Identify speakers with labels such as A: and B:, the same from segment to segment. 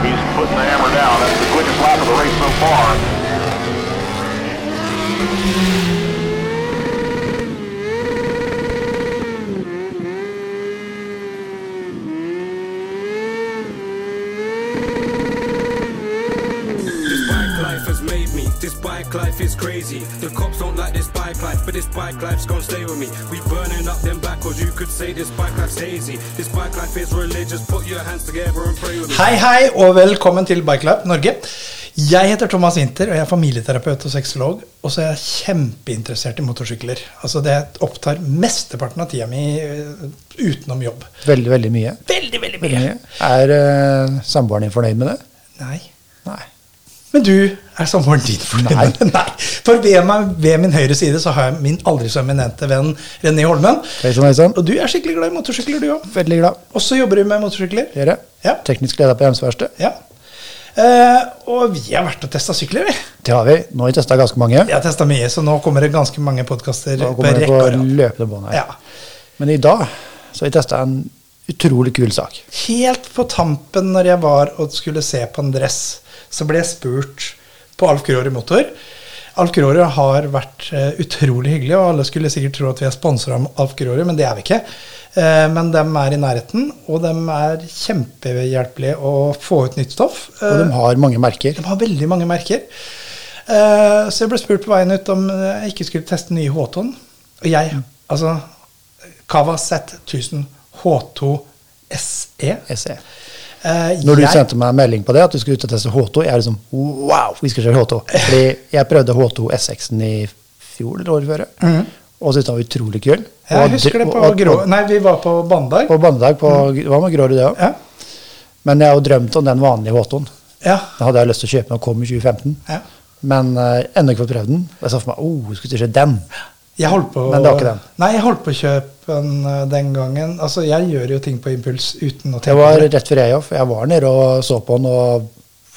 A: putting the hammer down. That's the quickest lap of the race so far.
B: This bike life has made me. This bike life is crazy. The cops don't like this bike life, but this bike life's gonna stay with me. We burning up them backwards. You could say this bike life's hazy. This bike life is religious. Put your hands together and pray with me.
C: Hei, hei, og velkommen til Bikelab Norge. Jeg heter Thomas Winther, og jeg er familieterapeut og sexolog. Og så er jeg kjempeinteressert i motorsykler. Altså Det opptar mesteparten av tida mi eh, utenom jobb.
D: Veldig, veldig mye.
C: Veldig, veldig
D: Veldig
C: mye.
D: mye. Er eh, samboeren din fornøyd med det?
C: Nei.
D: Nei.
C: Men du er samboeren din for
D: Nei.
C: Nei. For ved, meg, ved min høyre side så har jeg min aldri så eminente venn René Holmen.
D: Hei sann, hei sann.
C: Og du er skikkelig glad i motorsykler, du òg.
D: Veldig glad.
C: Og så jobber du med motorsykler.
D: Dere?
C: Ja.
D: Teknisk leder på Hjemsverkstedet?
C: Ja. Eh, og vi har vært og testa sykler, vi.
D: Det har vi. Nå har vi testa ganske mange.
C: Jeg har testa mye, så nå kommer det ganske mange podkaster
D: Nå
C: på
D: kommer det
C: rekke
D: på
C: og rad.
D: løpende bånd her.
C: Ja.
D: Men i dag så har vi testa en utrolig kul sak.
C: Helt på tampen, når jeg var og skulle se på en dress, så ble jeg spurt på Alf Grårud Motor. Alf Grårud har vært eh, utrolig hyggelig, og alle skulle sikkert tro at vi er sponsa av Alf Grårud, men det er vi ikke. Eh, men de er i nærheten, og de er kjempehjelpelige å få ut nytt stoff.
D: Og
C: Eh,
D: de har mange merker.
C: De har veldig mange merker. Eh, så jeg ble spurt på veien ut om eh, jeg ikke skulle teste nye H2-en. Og jeg,
D: Mm.
C: altså Kava Z1000 H2 SE.
D: SE.
C: E. Eh,
D: Når du
C: jeg-
D: sendte meg en melding på det, at du skulle ut og teste H2, jeg er liksom wow, vi skal kjøre H2. Fordi jeg prøvde H2 SX-en i fjor eller året før, og syntes den var utrolig kul.
C: Mhm. Jeg
D: Og-
C: husker det på
D: og- og-
C: grå... Nei, vi var på Bandag.
D: På bandedag på Hva med Grorud, det òg?
C: Ja.
D: Men jeg har jo drømt om den vanlige H2-en.
C: ja.
D: Den hadde jeg lyst til å kjøpe når den kom i 2015.
C: Ja.
D: Men eh, ennå ikke fått prøvd den. Og jeg sa for meg oh, jeg skulle ikke den.
C: Jeg holdt på
D: Men det var ikke den.
C: Nei, jeg holdt på å kjøpe den eh, den gangen. Altså, jeg gjør jo ting på impuls uten å
D: Det
C: tenke
D: var
C: over det.
D: rett før jeg òg, for jeg var nede og så på den og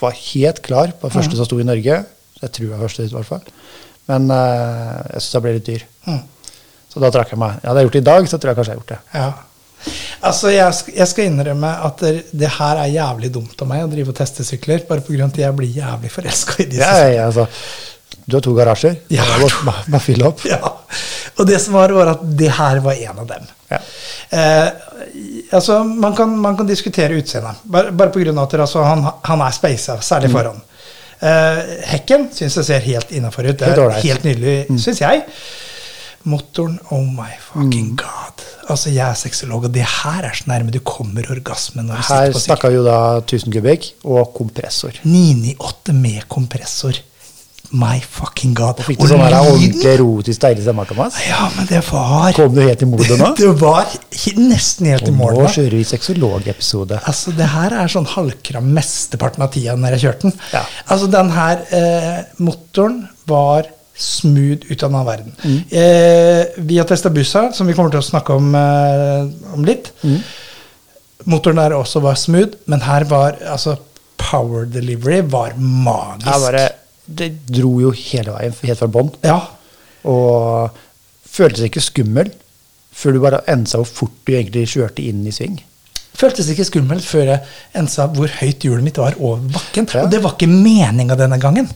D: var helt klar på den første som sto i Norge. Jeg tror jeg var første ut, i hvert fall. Men eh, jeg syns den ble litt dyr.
C: Mm.
D: Så da trakk jeg meg. Hadde jeg gjort det i dag, så tror jeg kanskje jeg har gjort det.
C: Ja. Altså, jeg, sk- jeg skal innrømme at det, det her er jævlig dumt av meg å drive og teste sykler, bare på grunn av at jeg blir jævlig forelska i disse
D: Ja,
C: syklene.
D: ja, ja, altså, du har to garasjer.
C: Jeg har
D: Bare, bare, bare fylle opp.
C: Ja. Og det som var, var at det her var en av dem.
D: Ja.
C: Eh, altså, man kan, man kan diskutere utseendet, bare, bare på grunn av at altså, han, han er speisa, særlig
D: Mm.
C: foran. Eh, hekken syns jeg ser helt innafor ut. Det
D: Helt
C: er
D: ålreit. Mm.
C: helt nydelig, syns jeg. Motoren, oh my fucking
D: Mm.
C: god. Altså, jeg er sexolog, og det her er så nærme du kommer orgasmen når du
D: Her
C: sitter på sykkel.
D: snakka vi jo da 1000 kubikk og kompressor.
C: 998 med kompressor. My fucking god.
D: Fikk du sånn her
C: lyden-
D: ordentlig erotisk deilig stemme, Thomas?
C: Ja, men det var
D: Kom du helt i modet nå?
C: Det var he- nesten helt i
D: Og
C: mål.
D: nå
C: da.
D: kjører vi sexologepisode.
C: Altså, det her er sånn halvkram mesteparten av tida når jeg kjørte den.
D: Ja.
C: Altså, den her eh, motoren var smooth ut av den verden.
D: Mm.
C: Eh, vi har testa bussa, som vi kommer til å snakke om, eh, om litt.
D: Mm.
C: Motoren der også var smooth, men her var altså Power delivery var magisk.
D: Jeg bare, det dro jo hele veien, helt fra bånn.
C: Ja.
D: Og føltes ikke skummel før du bare ensa hvor fort du egentlig kjørte inn i sving.
C: Føltes ikke skummelt før jeg ensa hvor høyt hjulet mitt var over bakken.
D: Ja.
C: Og det var ikke meninga denne gangen.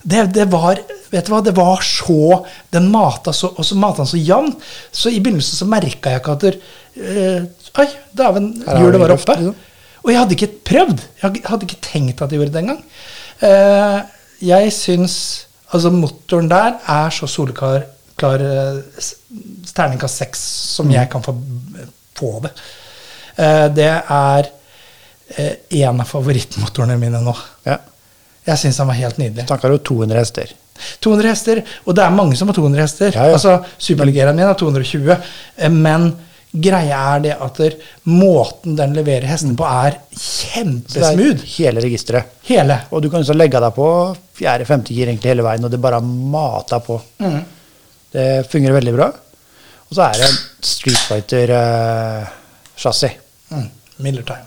C: Det, det var vet du hva, det var så Den mata så, og så mata den så jevnt. Så i begynnelsen så merka jeg ikke at der, eh, Oi, dæven,
D: Her er
C: hjulet
D: det
C: var
D: luft,
C: oppe.
D: liksom.
C: Og jeg hadde ikke prøvd. Jeg hadde- hadde ikke tenkt at jeg gjorde det engang. Uh, jeg syns Altså, motoren der er så soleklar klar, eh, s- terningkast seks som
D: Mm.
C: jeg kan få på det. Eh, det er eh, en av favorittmotorene mine nå.
D: Ja.
C: Jeg syns den var helt nydelig.
D: Tanker jo 200 hester.
C: 200 hester, og det er mange som har 200 hester.
D: Ja, ja.
C: Altså, Superligeraen min har 220, eh, men greia er det at der, måten den leverer hestene på, er
D: Det er
C: kjempesmooth.
D: Hele registeret.
C: Hele.
D: Og du kan også legge deg på fjerde-femte gir egentlig hele veien, og det bare mater på. Det fungerer veldig bra. Og så er det en Street eh, Fighter-chassis.
C: Mm, Miller time.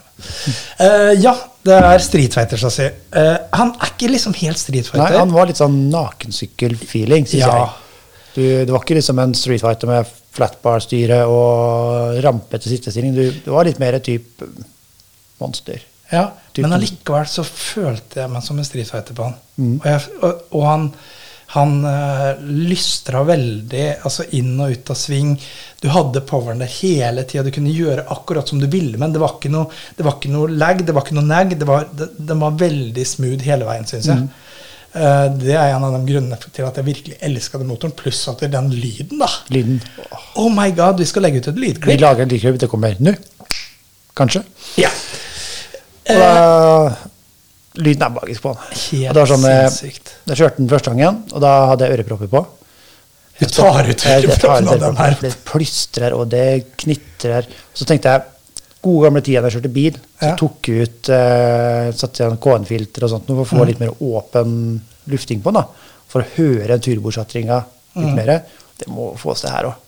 C: Eh, ja, det er Street Fighter, skal jeg si. Eh, han er ikke liksom helt Street
D: Nei,
C: Fighter.
D: han var litt sånn nakensykkel-feeling, syns
C: Ja.
D: jeg. Du, det var ikke liksom en Street Fighter med flatbar-styre og rampete sittestilling. Du, det var litt mer type eh, monster.
C: Ja,
D: Typ
C: men
D: to.
C: allikevel så følte jeg meg som en Street Fighter på han.
D: Mm.
C: Og, jeg, og, og han, han eh, lystra veldig, altså inn og ut av sving. Du hadde poweren der hele tida. Du kunne gjøre akkurat som du ville, men det var ikke noe, det var ikke noe lag, det var ikke noe nag. Det var, det, den var veldig smooth hele veien, syns
D: Mm.
C: jeg. Eh, det er en av de grunnene til at jeg virkelig elska den motoren, pluss at det er den lyden, da.
D: Lyden.
C: Oh my god, vi skal legge ut et
D: Vi
C: lydklipp.
D: lager en lydklipp, det kommer nå. Kanskje.
C: Ja. Eh,
D: Og da, lyden er magisk på den.
C: Helt
D: Og det var sånn, eh,
C: sinnssykt.
D: Jeg kjørte den første gangen, og da hadde jeg ørepropper på.
C: Du tar ut
D: Jeg- jeg tar
C: øreproppen av den her.
D: ørepropper, Det plystrer, og det knitrer. Så tenkte jeg, gode gamle tida da jeg kjørte bil, så
C: Ja.
D: tok jeg ut, eh, satte igjen KN-filter og sånt, nå for å
C: Mm.
D: få litt mer åpen lufting på den, da, for å høre turbosjattringa litt
C: Mm.
D: mer. Det må få oss det her også.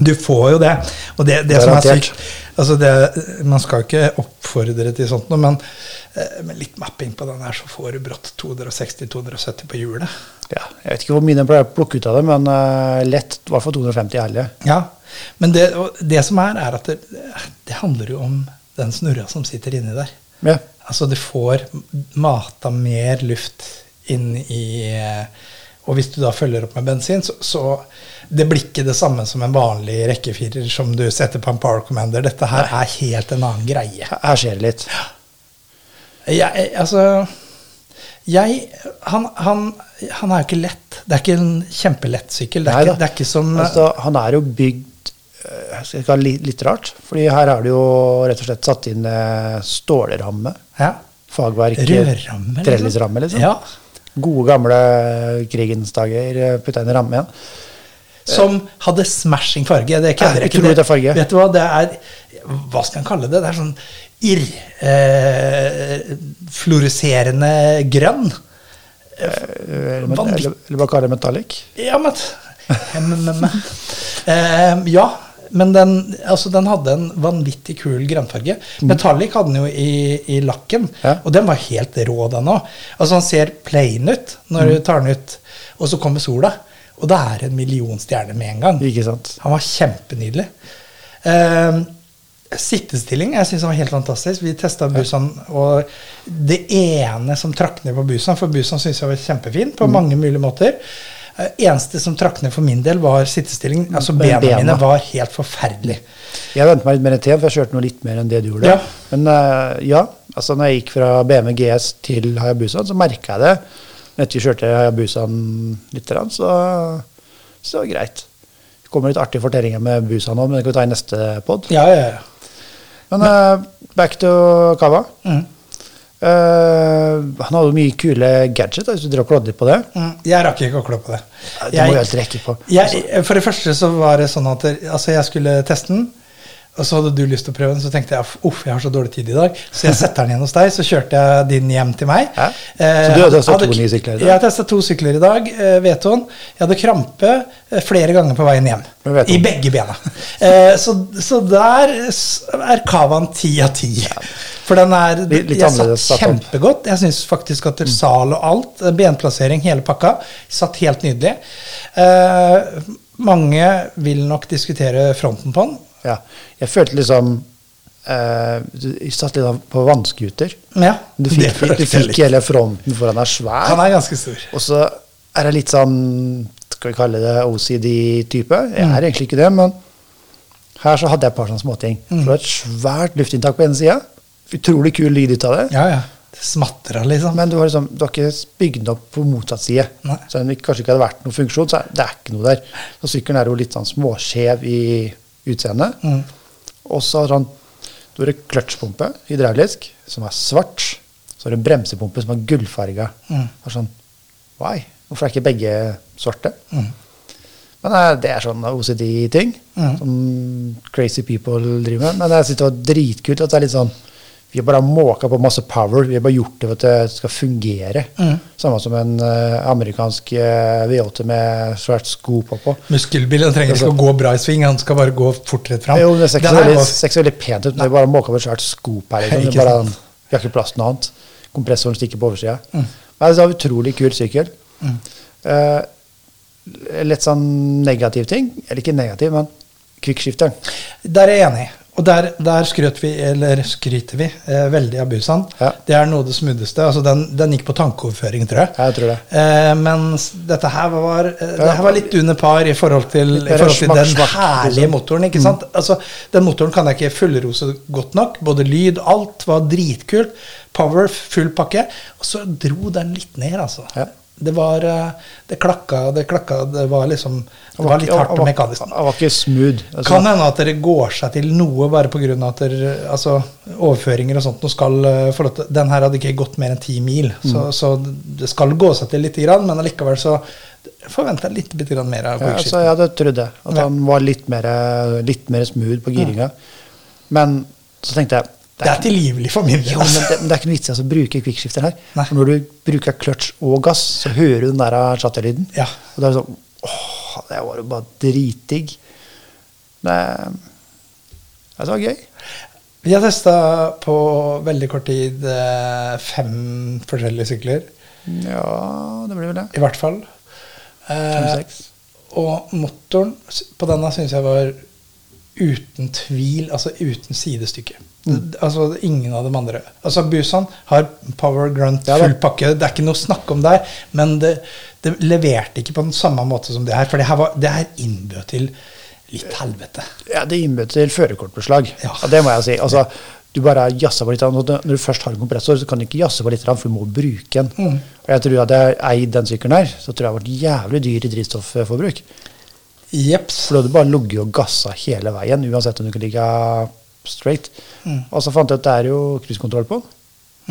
C: Du får jo det. Og det, det som er
D: Garantert.
C: sykt altså det, Man skal jo ikke oppfordre til sånt, noe, men eh, med litt mapping på den her, så får du brått 260-270 på hjulet.
D: Ja, jeg vet ikke hvor mye den pleier å plukke ut av det, men eh, lett, i hvert fall 250 i helga.
C: Ja, Men det, og det som er, er at det, det handler jo om den snurra som sitter inni der.
D: Ja.
C: Altså, du får mata mer luft inn i eh, Og hvis du da følger opp med bensin, så, så Det blir ikke det samme som en vanlig rekkefirer som du setter på en Power Commander. Dette her er helt en annen greie.
D: Her skjer det litt.
C: Jeg, jeg- altså jeg, han, han, han er jo ikke lett. Det er ikke en kjempelett sykkel. Det er,
D: Neida.
C: ikke, det er ikke som
D: altså, Han er jo bygd øh, jeg skal ikke ha litt, litt rart, fordi her er det jo rett og slett satt inn eh, stålramme.
C: ja,
D: Fagverk.
C: Rødramme, liksom.
D: Trellisramme, liksom.
C: Ja.
D: Gode, gamle krigens dager. eh, Putta inn i ramme igjen.
C: Som hadde smashing farge. Det kødder
D: Ja,
C: jeg ikke.
D: utrolig farge.
C: Vet du hva, det er Hva skal en kalle det? Det er sånn irr... Eh, fluorescerende grønn. Eh,
D: Eller,
C: Vanvitt-
D: eller, eller bare kalle det metallic.
C: Ja, men men, men, men. Eh, Ja, men den, altså, den hadde en vanvittig kul grønnfarge. Metallic hadde den jo i, i lakken,
D: Ja.
C: og den var helt rå, den òg. Altså, den ser plain ut når du tar den ut, og så kommer sola, og da er det en million stjerner med en gang.
D: Ikke sant?
C: Han var kjempenydelig. Eh, sittestilling jeg synes han var helt fantastisk. Vi testa Busan, og det ene som trakk ned på Busan, for Busan syns jeg var kjempefin på mange mulige måter. Eh, eneste som trakk ned for min del, var sittestilling. Altså
D: Men
C: Bena,
D: bena.
C: mine var helt forferdelige.
D: Jeg ventet meg litt mer enn te, for jeg kjørte noe litt mer enn det du gjorde.
C: Ja.
D: Men eh, ja, altså når jeg gikk fra BMW GS til Hayabusaen, så merka jeg det. Men etter vi kjørte Hayabusaen litt, grann, så, så det var greit. Det kommer litt artige fortellinger med Busaen nå, men det kan vi ta i neste pod.
C: Ja, ja, ja.
D: Men eh, back to Kava.
C: Mm.
D: Eh, han hadde jo mye kule gadgets, da, hvis du drar og klodder på det.
C: Mm, Jeg rakk ikke å klå på det.
D: Ja, det må vi alltid rekke på.
C: Jeg, for det første så var det sånn at det- altså jeg skulle teste den, og så hadde du lyst til å prøve den, så tenkte jeg uff, jeg har så dårlig tid i dag, så jeg setter den igjen hos deg, så kjørte jeg din hjem til meg. Eh,
D: Ja. Så du har testet
C: hadde
D: to
C: k-
D: nye sykler i dag?
C: Jeg testa to sykler i dag, eh, Vetoen. Jeg hadde krampe eh, flere ganger på veien hjem.
D: Med Vetoen.
C: I begge bena. Eh, Så, så der s- er Kavaen ti av ti. For den er
D: Litt- litt
C: Jeg
D: annerledes Mm.
C: satt
D: satt opp.
C: kjempe kjempegodt. Jeg syns faktisk at sal og alt, eh, benplassering, hele pakka, satt helt nydelig. Eh, mange vil nok diskutere fronten på den.
D: Ja. Jeg følte liksom eh, du- Jeg satt litt av- på vannskuter.
C: Men Ja,
D: Du
C: det
D: fikk,
C: følte
D: du
C: jeg litt.
D: fikk hele fronten foran er svær.
C: Han er ganske stor.
D: Og så er jeg litt sånn Skal vi kalle det OCD-type? Jeg
C: Mm.
D: er egentlig ikke det, men her så hadde jeg et par sånne småting.
C: Mm.
D: Så det var et svært luftinntak på ene sida. Utrolig kul lyd ut av det.
C: Ja, ja. Det smatrer, liksom.
D: Men du har, liksom, du har ikke bygd den opp på motsatt side.
C: Nei.
D: Så om det kanskje ikke hadde vært noen funksjon, så er det er ikke noe der. Så sykkelen er jo litt sånn småskjev i utseendet. Og så har han du har en kløtsjpumpe, hydraulisk, som er svart. Så har du en bremsepumpe som er gullfarga. Det er sånn Why? Hvorfor er ikke begge svarte? Men eh, det er sånn OCD-ting som crazy people driver med. Men jeg synes det var dritkult at det er litt sånn Vi har bare måka på masse power. Vi har bare gjort det for at det skal fungere. Samme som en eh, amerikansk eh, V8 med svært skopa på.
C: Muskelbilen trenger ikke å gå bra i sving, han skal bare gå fort rett fram.
D: Altså- Jo, det ser ikke
C: Den
D: så
C: er
D: veldig,
C: også-
D: ser ikke så veldig pent ut, men det er bare måka på et svært skop her. Liksom. Det
C: Ikke
D: er bare,
C: sant. Mm.
D: en- vi har ikke plass til noe annet. Kompressoren stikker på oversida. Men Det er en utrolig kul sykkel. Eh, litt sånn negativ ting. Eller ikke negativ, men kvikkskifteren.
C: Der er jeg enig. Og der, der skrøt vi, eller skryter vi, eh, veldig av Busan.
D: Ja.
C: Det er noe av det smuddeste. Altså, den, den gikk på tankeoverføring, tror jeg.
D: Ja, jeg tror det.
C: Eh, mens dette her var, eh, det her var litt under par i forhold til, i
D: mer
C: forhold til
D: smakk,
C: den
D: smakk,
C: herlige
D: liksom.
C: motoren. ikke sant? Altså, Den motoren kan jeg ikke fullrose godt nok. Både lyd, alt var dritkult. Power, full pakke. Og så dro den litt ned, altså.
D: Ja.
C: Det var eh, Det klakka og det klakka. Det var liksom Det var litt
D: ikke-
C: hardt og
D: han var-
C: mekanisk.
D: Han var ikke smooth. Altså,
C: Kan hende at dere går seg til noe bare pga. at dere, altså, overføringer og sånt nå skal eh, få lov til Den her hadde ikke gått mer enn ti mil, så,
D: Mm.
C: så det skal gå seg til lite grann, men allikevel så forventer jeg litt bitte grann mer av
D: ja,
C: quickshiften.
D: altså, ja, det trodde jeg. At
C: Ja. Mm.
D: han var litt mer, litt mer smooth på giringa. Men så tenkte jeg det
C: det
D: er,
C: er tilgivelig for min del.
D: jo, men det, men det er ikke noe vits i å bruke quickskifter her.
C: Nei.
D: For når du bruker kløtsj og gass, så hører du den der chatter-lyden.
C: Ja.
D: Og det er sånn Åh, det var jo bare dritdigg. Men ja, det var gøy.
C: Vi har testa på veldig kort tid eh, fem forskjellige sykler,
D: Ja, det blir vel det.
C: i hvert fall. Eh,
D: Fem-seks.
C: Og motoren s- på denne syns jeg var uten tvil, altså uten sidestykke.
D: Mm.
C: D- Altså Ingen av de andre. Altså Busan har power grunt,
D: Ja da.
C: full pakke, det er ikke noe å snakke om der. Men det, det leverte ikke på den samme måte som det her, for det her, var, det her innbød til litt helvete.
D: Ja, det innbød til førerkortbeslag.
C: Ja.
D: Ja. det må jeg si. Altså, du bare jazza på litt. grann. Når du først har en kompressor, så kan du ikke jazze på litt, grann, for du må bruke den.
C: Mm.
D: Og jeg tror Hadde jeg eid den sykkelen her, så tror jeg det hadde vært jævlig dyr i drivstofforbruk.
C: Jepps.
D: For du hadde bare ligget og gassa hele veien, uansett om du kunne ligge straight. Og så fant jeg ut det er jo cruisekontroll på den.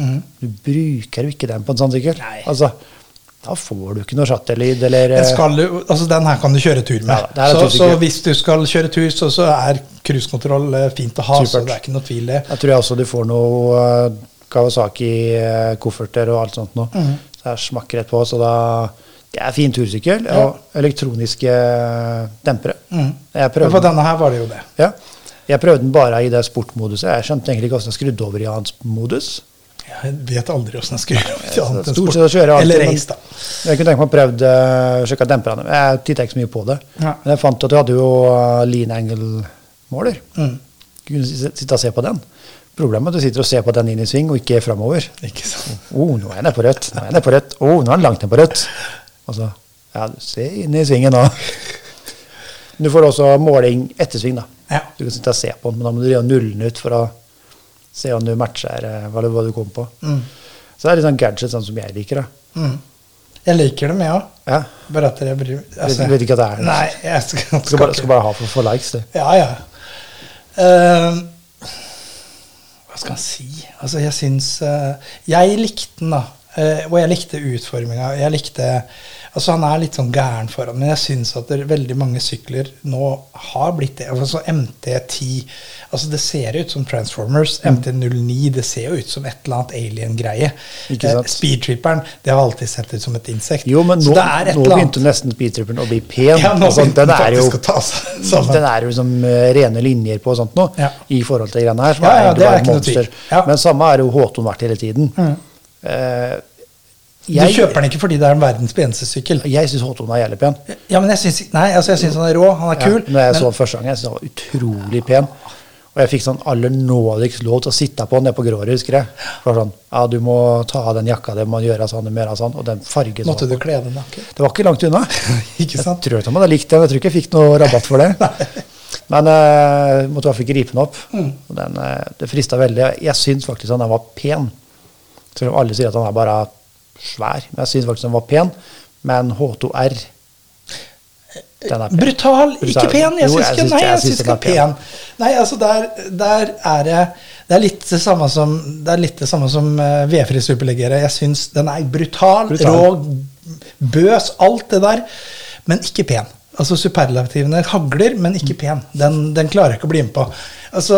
C: Mhm.
D: Du bruker jo ikke den på en sånn sykkel.
C: Nei.
D: Altså, da får du ikke noe chattelyd eller eh,
C: Den, skal du, altså den her kan du kjøre tur med.
D: Ja, det her er
C: så, så
D: tursikker.
C: hvis du skal kjøre tur, så, så er cruisekontroll eh, fint å ha. Så
D: Supert.
C: det er ikke noe tvil, det.
D: Jeg tror jeg også du får noe eh, Kawasaki-kofferter og alt sånt noe. Så jeg smakker rett på, så da Det er fin tursykkel. Og elektroniske eh, dempere. Jeg
C: Men på
D: prøvde den.
C: denne her var det jo det.
D: Ja. Jeg prøvde den bare i det sportmoduset. Jeg skjønte egentlig ikke hvordan jeg skrudde over i annet modus.
C: Jeg vet aldri åssen jeg skulle gjøre til annet enn
D: Stort
C: sport.
D: sett å kjøre alltid,
C: Eller
D: men
C: race, da.
D: Jeg kunne tenke meg å prøvd eh, sjekka demperne. men Jeg titta ikke så mye på det.
C: Ja.
D: Men jeg fant at du hadde jo eh, lean angle-måler.
C: Mm,
D: Du kunne s- sitte og se på den. Problemet er at du sitter og ser på den inn i sving, og ikke framover.
C: Ikke sant?
D: Oh, nå er han nede på rødt. Nå er han nede på rødt. Oh, nå er han langt nede på rødt. Altså, ja, se inn i svingen nå. Du får også måling etter sving, da.
C: Ja.
D: Du kan sitte og se på den, men da må du gjøre nullen ut for å se om du matcher eh, hva du, hva du kom på.
C: Mm.
D: Så det er litt sånn gadget, sånn som jeg liker. da.
C: Jeg liker dem, jeg òg.
D: Ja.
C: Bare at jeg bryr altså,
D: Vet- vet ikke at det er-
C: Nei, jeg skal,
D: Skal bare, skal bare ha for å få likes, du.
C: Ja, ja. Eh, hva skal en si? Altså, jeg syns eh, Jeg likte den, da. Eh, og jeg likte utforminga. Jeg likte Altså, han er litt sånn gæren foran, men jeg syns at det, er veldig mange sykler nå har blitt det. Altså MT10 Altså, det ser ut som Transformers.
D: Mm.
C: MT09, det ser jo ut som et eller annet alien-greie. Eh,
D: Ikke sant?
C: Speedtripperen, det har alltid sett ut som et insekt.
D: Jo, men
C: Så
D: nå,
C: det er et
D: nå
C: eller annet.
D: begynte nesten speedtripperen å bli pen.
C: Ja, nå
D: altså,
C: begynte
D: den
C: den
D: er jo
C: faktisk å ta seg sammen.
D: Den er jo liksom eh, rene linjer på og sånt nå,
C: Ja.
D: i forhold til greiene her. Som
C: Ja, ja,
D: er egentlig
C: det er
D: bare
C: ikke noe
D: monster.
C: tvil. Ja. Mm.
D: Men samme er jo Håton vært hele tiden. Eh, jeg,
C: du kjøper den ikke fordi det er en verdens peneste sykkel.
D: Jeg syns Håton er jævlig pen.
C: Ja, men jeg syns Nei, altså jeg syns han er rå, han er kul.
D: Ja, når jeg
C: men
D: så den første gang, jeg syntes han var utrolig pen. Og jeg fikk sånn aller nådigst lov til å sitte på nede på Grårud, husker jeg. For det var sånn, ja, du må ta av den jakka, det må gjøre sånn, det må gjøre sånn, og den fargen som
C: måtte
D: var
C: du
D: på.
C: kle deg naken?
D: Det var ikke langt unna.
C: Ikke sant?
D: Jeg tror ikke man hadde likt den, jeg tror ikke jeg fikk noe rabatt for det. Men eh, måtte i hvert fall ikke ripe den opp.
C: Mm.
D: Og den, eh, det frista veldig. Jeg syns faktisk han var pen. Selv om alle sier at han er bare svær. Men jeg syns faktisk han var pen. Men H2R den er pen.
C: Brutal, ikke
D: Brutal.
C: pen! Jeg
D: Jo,
C: syns ikke Nei, jeg
D: syns
C: syns ikke pen. Nei, altså, der, der er det Det er litt det samme som Det er litt det samme som eh, vedfri superleggere. Jeg syns den er brutal,
D: Brutal.
C: rå, bøs, alt det der, men ikke pen. Altså Superlativene hagler, men ikke
D: Mm.
C: pen. Den, den klarer jeg ikke å bli med på. Altså,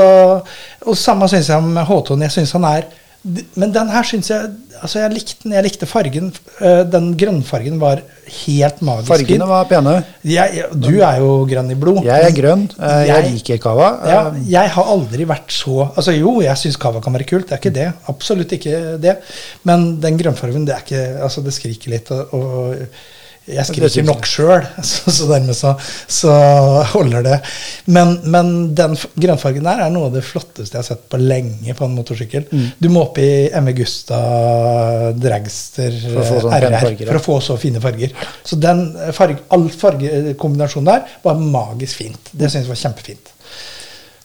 C: og samme syns jeg om Håton. Jeg syns han er Men den her syns jeg Altså, jeg likte den. Jeg likte fargen. Eh, Den grønnfargen var helt magisk.
D: Fargene var pene.
C: Jeg, jeg- du er jo grønn i blod.
D: Jeg er grønn. eh, Jeg
C: Jeg-
D: liker cava.
C: Ja,
D: eh,
C: jeg har aldri vært så Altså Jo, jeg syns cava kan være kult, det er ikke det. Absolutt ikke det. Men den grønnfargen, det er ikke Altså, det skriker litt. Og, og jeg skriver ikke nok sjøl, så, så dermed så, så holder det. Men, men den f- grønnfargen der er noe av det flotteste jeg har sett på lenge på en motorsykkel.
D: Mm.
C: Du må opp i MV Gusta Dragster
D: For å få sånne
C: eh,
D: fine
C: RR
D: farger, ja.
C: for å få så fine farger. Så den farg, all fargekombinasjonen der var magisk fint. Det syns jeg var kjempefint.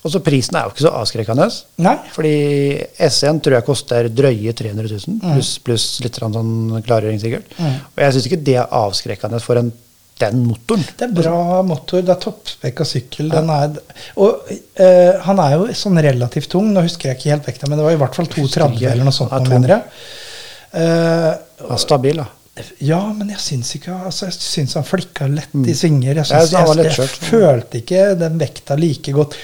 D: Og så prisen er jo ikke så avskrekkende.
C: Nei.
D: Fordi S1 tror jeg koster drøye 300 000,
C: Mm.
D: pluss plus litt grann sånn klargjøring sikkert. Og jeg syns ikke det er avskrekkende for en, den motoren.
C: Det er bra motor. Det er toppspekka sykkel. Den er, og eh, han er jo sånn relativt tung. Nå husker jeg ikke helt vekta, men det var i hvert fall
D: Husker
C: 2,30
D: ikke.
C: eller noe sånt.
D: Ja,
C: nå,
D: tung.
C: mener jeg. Eh,
D: Den er stabil, da.
C: ja, men jeg syns ikke altså, Jeg syns han flikka lett i svinger. Jeg,
D: Mm. Ja,
C: syns,
D: så han var
C: jeg, jeg
D: lettkjørt.
C: følte ikke den vekta like godt.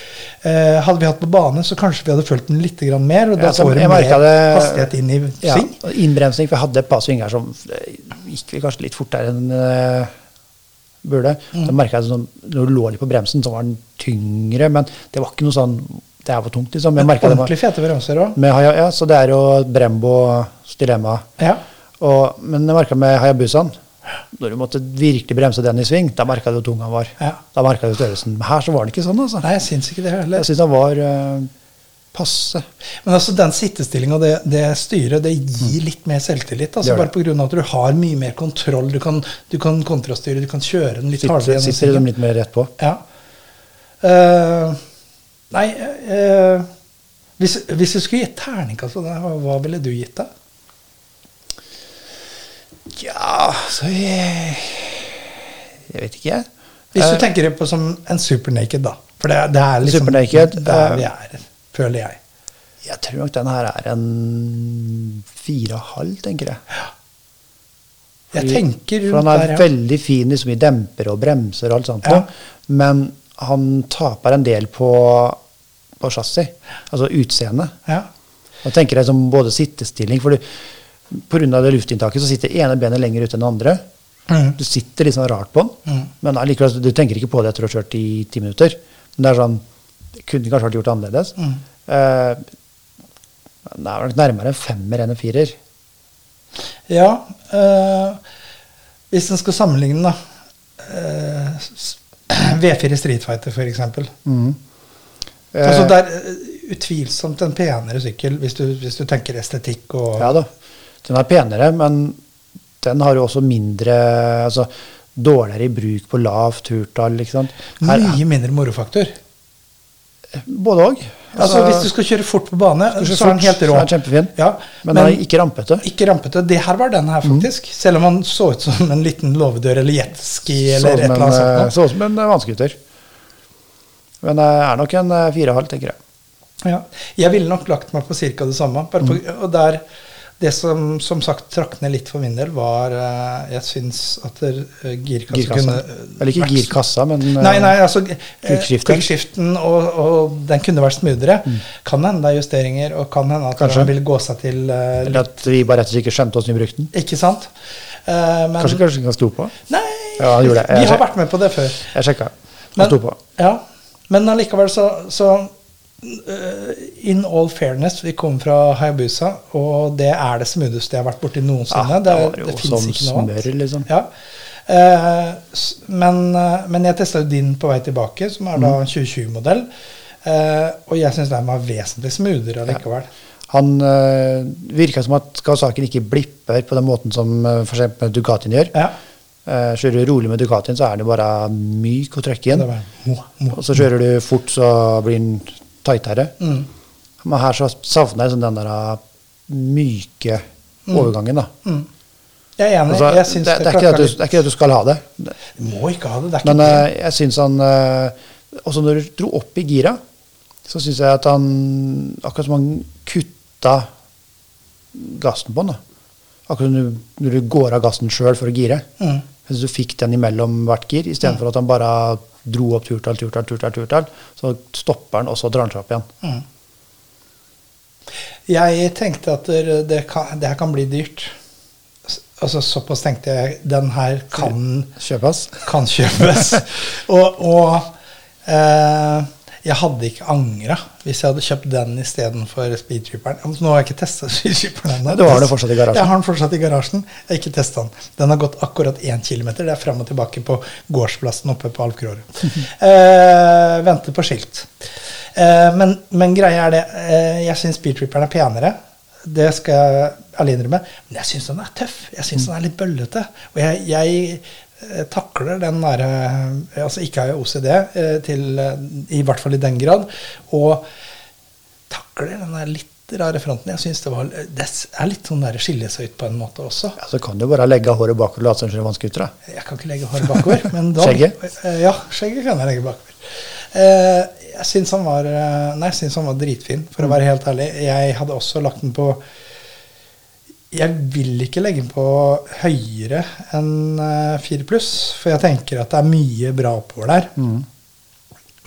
C: Eh, hadde vi hatt på bane, så kanskje vi hadde følt den litt grann mer, og da
D: Ja, så
C: får du
D: jeg
C: mer
D: merket det-
C: hastighet inn i
D: Ja,
C: sving.
D: og innbremsing, for jeg hadde et par svinger som eh, gikk vel kanskje litt fortere enn eh, burde.
C: Mm.
D: Da merka jeg sånn, når du lå litt på bremsen, så var den tyngre, men det var ikke noe sånn Det her var tungt, liksom. Jeg merket det var,
C: Ordentlig fete bremser òg.
D: med, Haya- ja, så det er jo Brembos dilemma.
C: Ja.
D: Og, men jeg merka med Hayabusaen Når du måtte virkelig bremse den i sving, da merka du hvor tung han var.
C: Ja.
D: Da merka du størrelsen. Men her så var den ikke sånn, altså.
C: Nei, jeg syns ikke det heller.
D: Jeg syns han var eh, passe.
C: Men altså den sittestillinga og det, det styret, det gir litt mer selvtillit.
D: Mm. Det
C: altså
D: gjør
C: Bare
D: det.
C: pga. at du har mye mer kontroll. Du kan, du kan kontrastyre, du kan kjøre den litt
D: Sitter,
C: hardere. gjennom
D: sitter liksom
C: svingen.
D: litt mer rett på.
C: Ja. Eh, nei eh, hvis, hvis du skulle gitt terningkast på den, her, hva ville du gitt da?
D: Ja, så jeg, jeg vet ikke, jeg.
C: Hvis du
D: Eh,
C: tenker på som en supernaked, da. For det, det er liksom
D: Supernaked,
C: der
D: eh,
C: vi er, føler jeg.
D: Jeg tror nok den her er en fire og halv, tenker jeg.
C: Jeg
D: Fordi-
C: tenker
D: For han
C: rundt
D: er
C: der, ja.
D: veldig fin liksom, i demper og bremser og alt sånt.
C: Ja.
D: noe. Men han taper en del på, på chassis, altså utseende.
C: Ja.
D: Da tenker jeg som både sittestilling, for pga. det luftinntaket så sitter ene benet lenger ute enn det andre.
C: Mm.
D: Du sitter litt sånn rart på den,
C: Mm.
D: men allikevel, du tenker ikke på det etter å ha kjørt i ti minutter. Men det er sånn, det kunne kanskje vært gjort annerledes.
C: Mm.
D: Eh, det er vel nok nærmere en femmer enn en firer.
C: Ja. eh, hvis en skal sammenligne, da. eh, s- V4 Street Fighter, f.eks. Altså,
D: Eh,
C: det er eh, utvilsomt en penere sykkel hvis du, hvis du tenker estetikk og
D: Eh, Ja da. Den er penere, men den har jo også mindre altså, Dårligere i bruk på lavt turtall. ikke sant? Her,
C: Mye mindre morofaktor.
D: både òg.
C: Altså, hvis du skal kjøre fort på bane,
D: kjøre
C: så er den
D: fort,
C: helt rå.
D: så er den kjempefin.
C: Ja,
D: men, den er ikke rampete. Mhm.
C: ikke rampete. Det her var den her, faktisk. Selv om han så ut som en liten låvedør eller jetski eller et
D: Sånn,
C: eller annet sånt.
D: men,
C: noe.
D: eh, Sånn som en eh, vannskuter. Men det er nok en eh, fire og halv, tenker jeg.
C: Ja. Jeg ville nok lagt meg på ca. det samme. Bare på,
D: Mm.
C: Og der, det som som sagt trakk ned litt for min del, var eh, Jeg syns at der, eh, girkassa,
D: Girkassa.
C: kunne eh,
D: Eller ikke
C: vært-
D: girkassa, men eh,
C: Nei, nei, altså eh,
D: Quickshiften.
C: quickshiften, og, og den kunne vært smoothere. Kan hende det er justeringer, og kan hende at
D: Mm. Kanskje.
C: den vil gå seg til eh,
D: Eller at vi bare rett og slett ikke skjønte åssen vi brukte den.
C: Ikke sant? Eh, men
D: Kanskje kanskje vi kan stå på?
C: Nei,
D: Ja, han gjorde det.
C: vi
D: Jeg
C: har
D: ser-
C: vært med på det før.
D: Jeg sjekka. Han sto på.
C: Ja, men allikevel så, så øh, In all fairness, vi kommer fra Hayabusa, og det er det smootheste jeg har vært borti noensinne.
D: Ja,
C: det
D: det var jo
C: det
D: som
C: finnes ikke noe annet.
D: smør, liksom.
C: Ja. Eh, s- men, eh, men jeg testa jo din på vei tilbake, som er
D: Mm.
C: da en 2020-modell. eh, og jeg syns den var vesentlig smoothere allikevel.
D: Han øh, virka som at Kawasaken ikke blipper på den måten som øh, for eksempel Ducatien gjør.
C: Ja.
D: Eh, kjører du rolig med Ducatien, så er den jo bare myk og trøkke inn.
C: Det var, mwah, mwah.
D: Og så kjører du fort, så blir den tightere.
C: Mm.
D: Men her så savner jeg sånn den der øh, myke overgangen, da.
C: Jeg er enig.
D: Altså,
C: Mm. jeg
D: det,
C: syns
D: det, er ikke det,
C: klakka
D: at du,
C: litt.
D: det er ikke det at du skal ha det. det
C: Må ikke ha det. Det er ikke
D: men
C: det.
D: eh, jeg syns han eh, Også når du dro opp i gira, så syns jeg at han Akkurat som han kutta gassen på den. da. Akkurat når du, når du går av gassen sjøl for å gire.
C: Mm.
D: Jeg syns du fikk den imellom hvert gir, istedenfor at han bare dro opp turtall, turtall, turtall, turtall. Så stopper han, og så drar han seg opp igjen.
C: Jeg tenkte at det, det, kan, det her kan bli dyrt. S- Altså Såpass tenkte jeg. Den her kan,
D: Kjøpas.
C: kan kjøpes. og og eh, Jeg hadde ikke angra hvis jeg hadde kjøpt den istedenfor speedtripperen. Nå har jeg ikke testa speedtripperen ennå.
D: Du har den fortsatt i garasjen.
C: Jeg har den fortsatt i garasjen. Jeg har ikke testet den. Den har gått akkurat 1 km. Det er fram og tilbake på gårdsplassen oppe på Alf Grorud. eh, venter på skilt. Eh, men, men greia er det, eh, jeg syns speedtripperen er penere. Det skal jeg ærlig innrømme. Men jeg syns den er tøff. Jeg syns den er litt bøllete. Og jeg, jeg eh, takler den nære Altså ikke har jeg OCD, eh, til, eh, i hvert fall i den grad. Og takler den der litt rare fronten. Jeg syns det, var- det er litt sånn der skillesøyt på en måte også.
D: Ja, så kan du bare legge håret bakover og late som du kjører vannskuter. da.
C: Jeg kan ikke legge håret bakover. Men da,
D: Skjegget?
C: Eh, Ja, skjegget kan jeg legge bakover. Eh, Jeg syns han var eh, Nei, jeg syns han var dritfin, for å være helt ærlig. Jeg hadde også lagt den på Jeg vil ikke legge den på høyere enn eh, 4 pluss, for jeg tenker at det er mye bra oppover der.
D: Mm.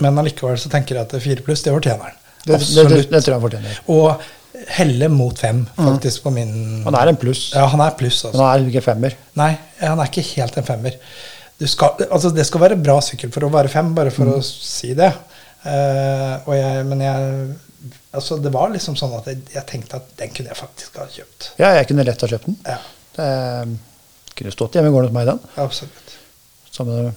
C: Men allikevel så tenker jeg at 4 pluss, det fortjener han.
D: Det, det, det,
C: Absolutt.
D: det tror jeg han fortjener.
C: Og helle mot 5, faktisk, på min
D: Mm. Han er en pluss,
C: Ja, han er pluss, altså.
D: men han er ikke en femmer.
C: Nei, han er ikke helt en femmer. Du skal, altså det skal være bra sykkel for å være fem, bare
D: Mm.
C: for å si det. Eh, og jeg, men jeg altså Det var liksom sånn at jeg, jeg tenkte at den kunne jeg faktisk ha kjøpt.
D: Ja, jeg kunne lett ha kjøpt den.
C: Ja,
D: Det eh, kunne stått hjemme i gården hos meg, den.
C: absolutt.
D: Som eh,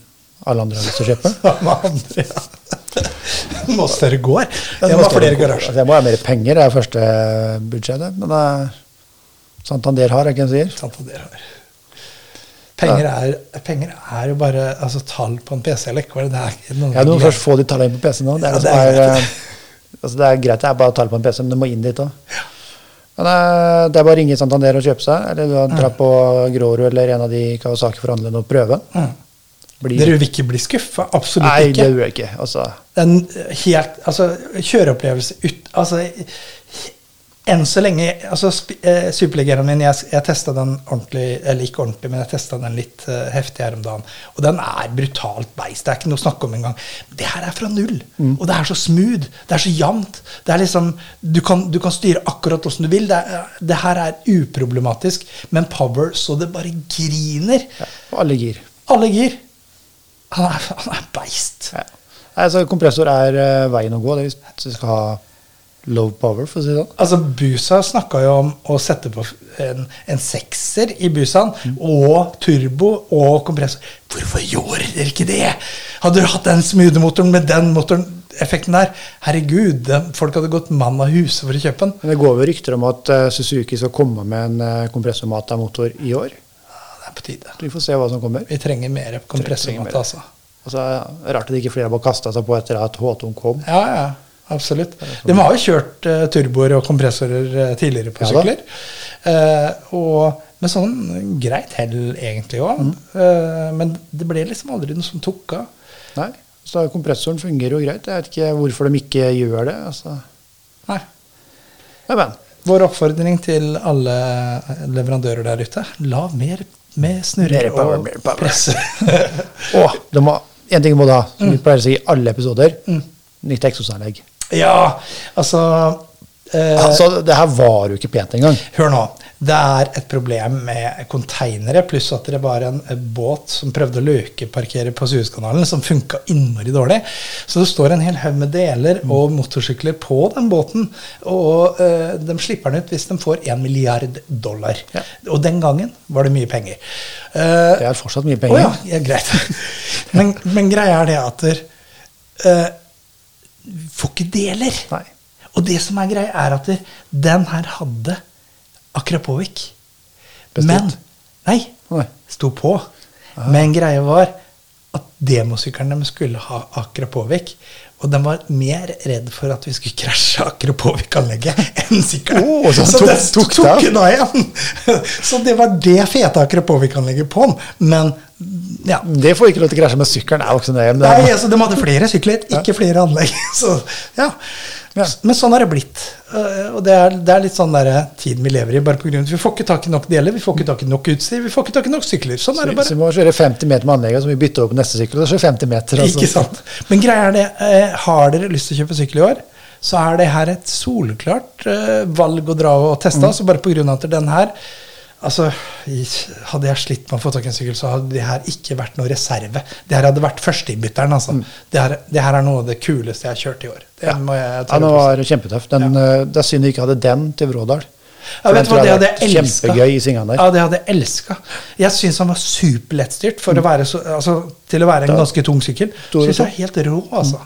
D: alle andre har lyst til å kjøpe.
C: Samme andre, ja. Må større gård.
D: Men
C: Jeg må
D: det
C: ha
D: skal-
C: flere garasjer.
D: Altså, jeg må ha mer penger, det er første budsjettet. Men eh, Santander har, er ikke det en sier?
C: Sant at dere har. Penger er, penger er jo bare altså, tall på en PC, eller hva er det? det er? ikke noe-
D: Ja, du må først få de tallene inn på PC-en nå. Det
C: Ja,
D: er, det
C: det
D: som
C: er
D: er, eh, altså, det er greit, det er bare tall på en PC, men du må inn dit òg. Men eh, det er bare å ringe Santander og kjøpe seg, eller du kan
C: Mm.
D: dra på Grårud eller en av de Kawasaki-forhandlerne og prøve.
C: Mm.
D: Blir-
C: Dere vil ikke bli skuffa? Absolutt
D: Nei,
C: ikke.
D: det gjør jeg ikke. Altså,
C: den helt Altså, kjøreopplevelse ut Altså, enn så lenge altså, sp- eh, Superligeraen min, jeg, jeg testa den ordentlig Eller ikke ordentlig, men jeg testa den litt eh, heftig her om dagen. Og den er brutalt beist. Det er ikke noe å snakke om engang. Det her er fra null. Og det er så smooth. Det er så jevnt. Det er liksom Du kan, du kan styre akkurat åssen du vil. Det, er, det her er uproblematisk, men power så det bare griner.
D: på alle gir.
C: Alle gir. Han er, han er beist.
D: Ja. Nei, altså, kompressor er eh, veien å gå det er hvis du skal ha low power, for å si det sånn.
C: Altså, Busa snakka jo om å sette på en, en sekser i Busaen, og turbo og kompressor. Hvorfor gjorde dere ikke det? Hadde dere hatt den smoothmotoren med den motoren, effekten der? Herregud, den- folk hadde gått mann av huset for å kjøpe den.
D: Men det går jo rykter om at eh, Suzuki skal komme med en uh, kompressormata-motor i år.
C: Ja, Det er på tide.
D: Så vi får se hå som kommer.
C: Vi trenger mer kompressormat,
D: mer.
C: altså.
D: Altså, rart at ikke flere har bare kasta seg på etter at H2 kom.
C: Ja, ja. Absolutt. De har jo kjørt eh, turboer og kompressorer eh, tidligere på
D: Ja da.
C: sykler. Eh, og med sånn greit hell, egentlig òg.
D: Mm.
C: men det ble liksom aldri noe som tok av.
D: Nei, så kompressoren fungerer jo greit. Jeg vet ikke hvorfor de ikke gjør det. Altså.
C: Nei.
D: Nei, men.
C: Vår oppfordring til alle leverandører der ute la mer med snurrer
D: Mer power,
C: og
D: mer power.
C: presse.
D: Å, de må, en ting må du ha, som vi pleier å si i alle episoder.
C: Mm.
D: Nytt eksosanlegg.
C: ja, altså eh,
D: Altså, det her var jo ikke pent engang.
C: Hør nå. Det er et problem med konteinere, pluss at det var en eh, båt som prøvde å løkeparkere på Suezkanalen, som funka innmari dårlig. Så det står en hel haug med deler og motorsykler på den båten. Og eh, de slipper den ut hvis de får 1 milliard dollar.
D: Ja.
C: Og den gangen var det mye penger. Eh,
D: Det er fortsatt mye
C: å
D: penger.
C: ja, ja, greit. Men, men greia er det at der, eh, Får ikke deler.
D: Nei.
C: Og det som er greia, er at der, den her hadde Akrapovic. Men
D: Bestilt.
C: Nei.
D: Nei. Ah.
C: Sto på. Men greia var at demosykkelen de skulle ha Akrapovic. Og de var mer redd for at vi skulle krasje Akrapovic-anlegget enn sykkelen.
D: Å, Oh, så tok-
C: den
D: tok det av.
C: den av igjen. Så det var det fete Akrapovic-anlegget på den. Men ja.
D: Det får ikke lov til å krasje med sykkelen. Det er jo ikke så nøye. men det er-
C: Nei, altså, de hadde flere sykler, ikke flere anlegg. Så, ja.
D: Ja.
C: Men sånn har det blitt. Eh, Og det er, det er litt sånn der, eh, tiden vi lever i. bare på grunn av at Vi får ikke tak i nok deler, vi får ikke tak i nok utstyr, vi får ikke tak i nok sykler. Sånn er det
D: Så
C: bare.
D: vi må kjøre 50 meter med anlegget, så må vi bytte over på neste sykkel. Og så 50 meter. altså.
C: Ikke sant? Men greia er det, eh, har dere lyst til å kjøpe sykkel i år, så
D: Mm.
C: er det her et solklart eh, valg å dra og teste. Så bare på grunn av at den her Altså, i- Hadde jeg slitt med å få tak i en sykkel, så hadde det her ikke vært noe reserve. Det her hadde vært førsteinnbytteren. Altså. Det, her- det her er noe av det kuleste jeg har kjørt i år. Det må jeg
D: Mm. Ja,
C: tørre
D: den
C: å påstå.
D: var kjempetøff. Den, eh, Det er synd vi ikke hadde den til Vrådal.
C: Ja, vet du
D: For den
C: hva,
D: tror
C: det
D: jeg
C: hadde
D: hadde
C: jeg
D: vært
C: elska.
D: Kjempegøy i svingene der.
C: Ja, det hadde jeg elska. Jeg syns han var superlettstyrt for å
D: Mm.
C: være så, altså, til å være en ganske tung sykkel.
D: Stor og
C: Syns jeg er helt rå, altså.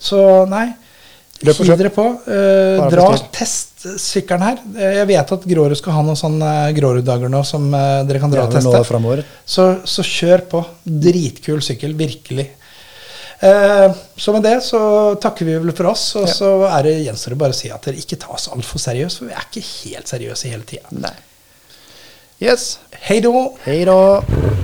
C: Så nei,
D: Mm. Løp og
C: hiv
D: kjøp.
C: dere på. Eh,
D: Bare
C: dra
D: bestill.
C: test sykkelen her. Eh, Jeg vet at Grårud skal ha noen sånne eh, Grårud-dager nå som eh, dere kan dra og
D: Det er vel nå
C: teste.
D: fremover.
C: Så, så kjør på. Dritkul sykkel, virkelig. Eh, så med det så takker vi vel for oss, og
D: Ja.
C: så er det gjenstår det bare å si at dere ikke tar oss altfor seriøst, for vi er ikke helt seriøse hele tida.
D: Nei. Yes.
C: Hei då!
D: Hei da.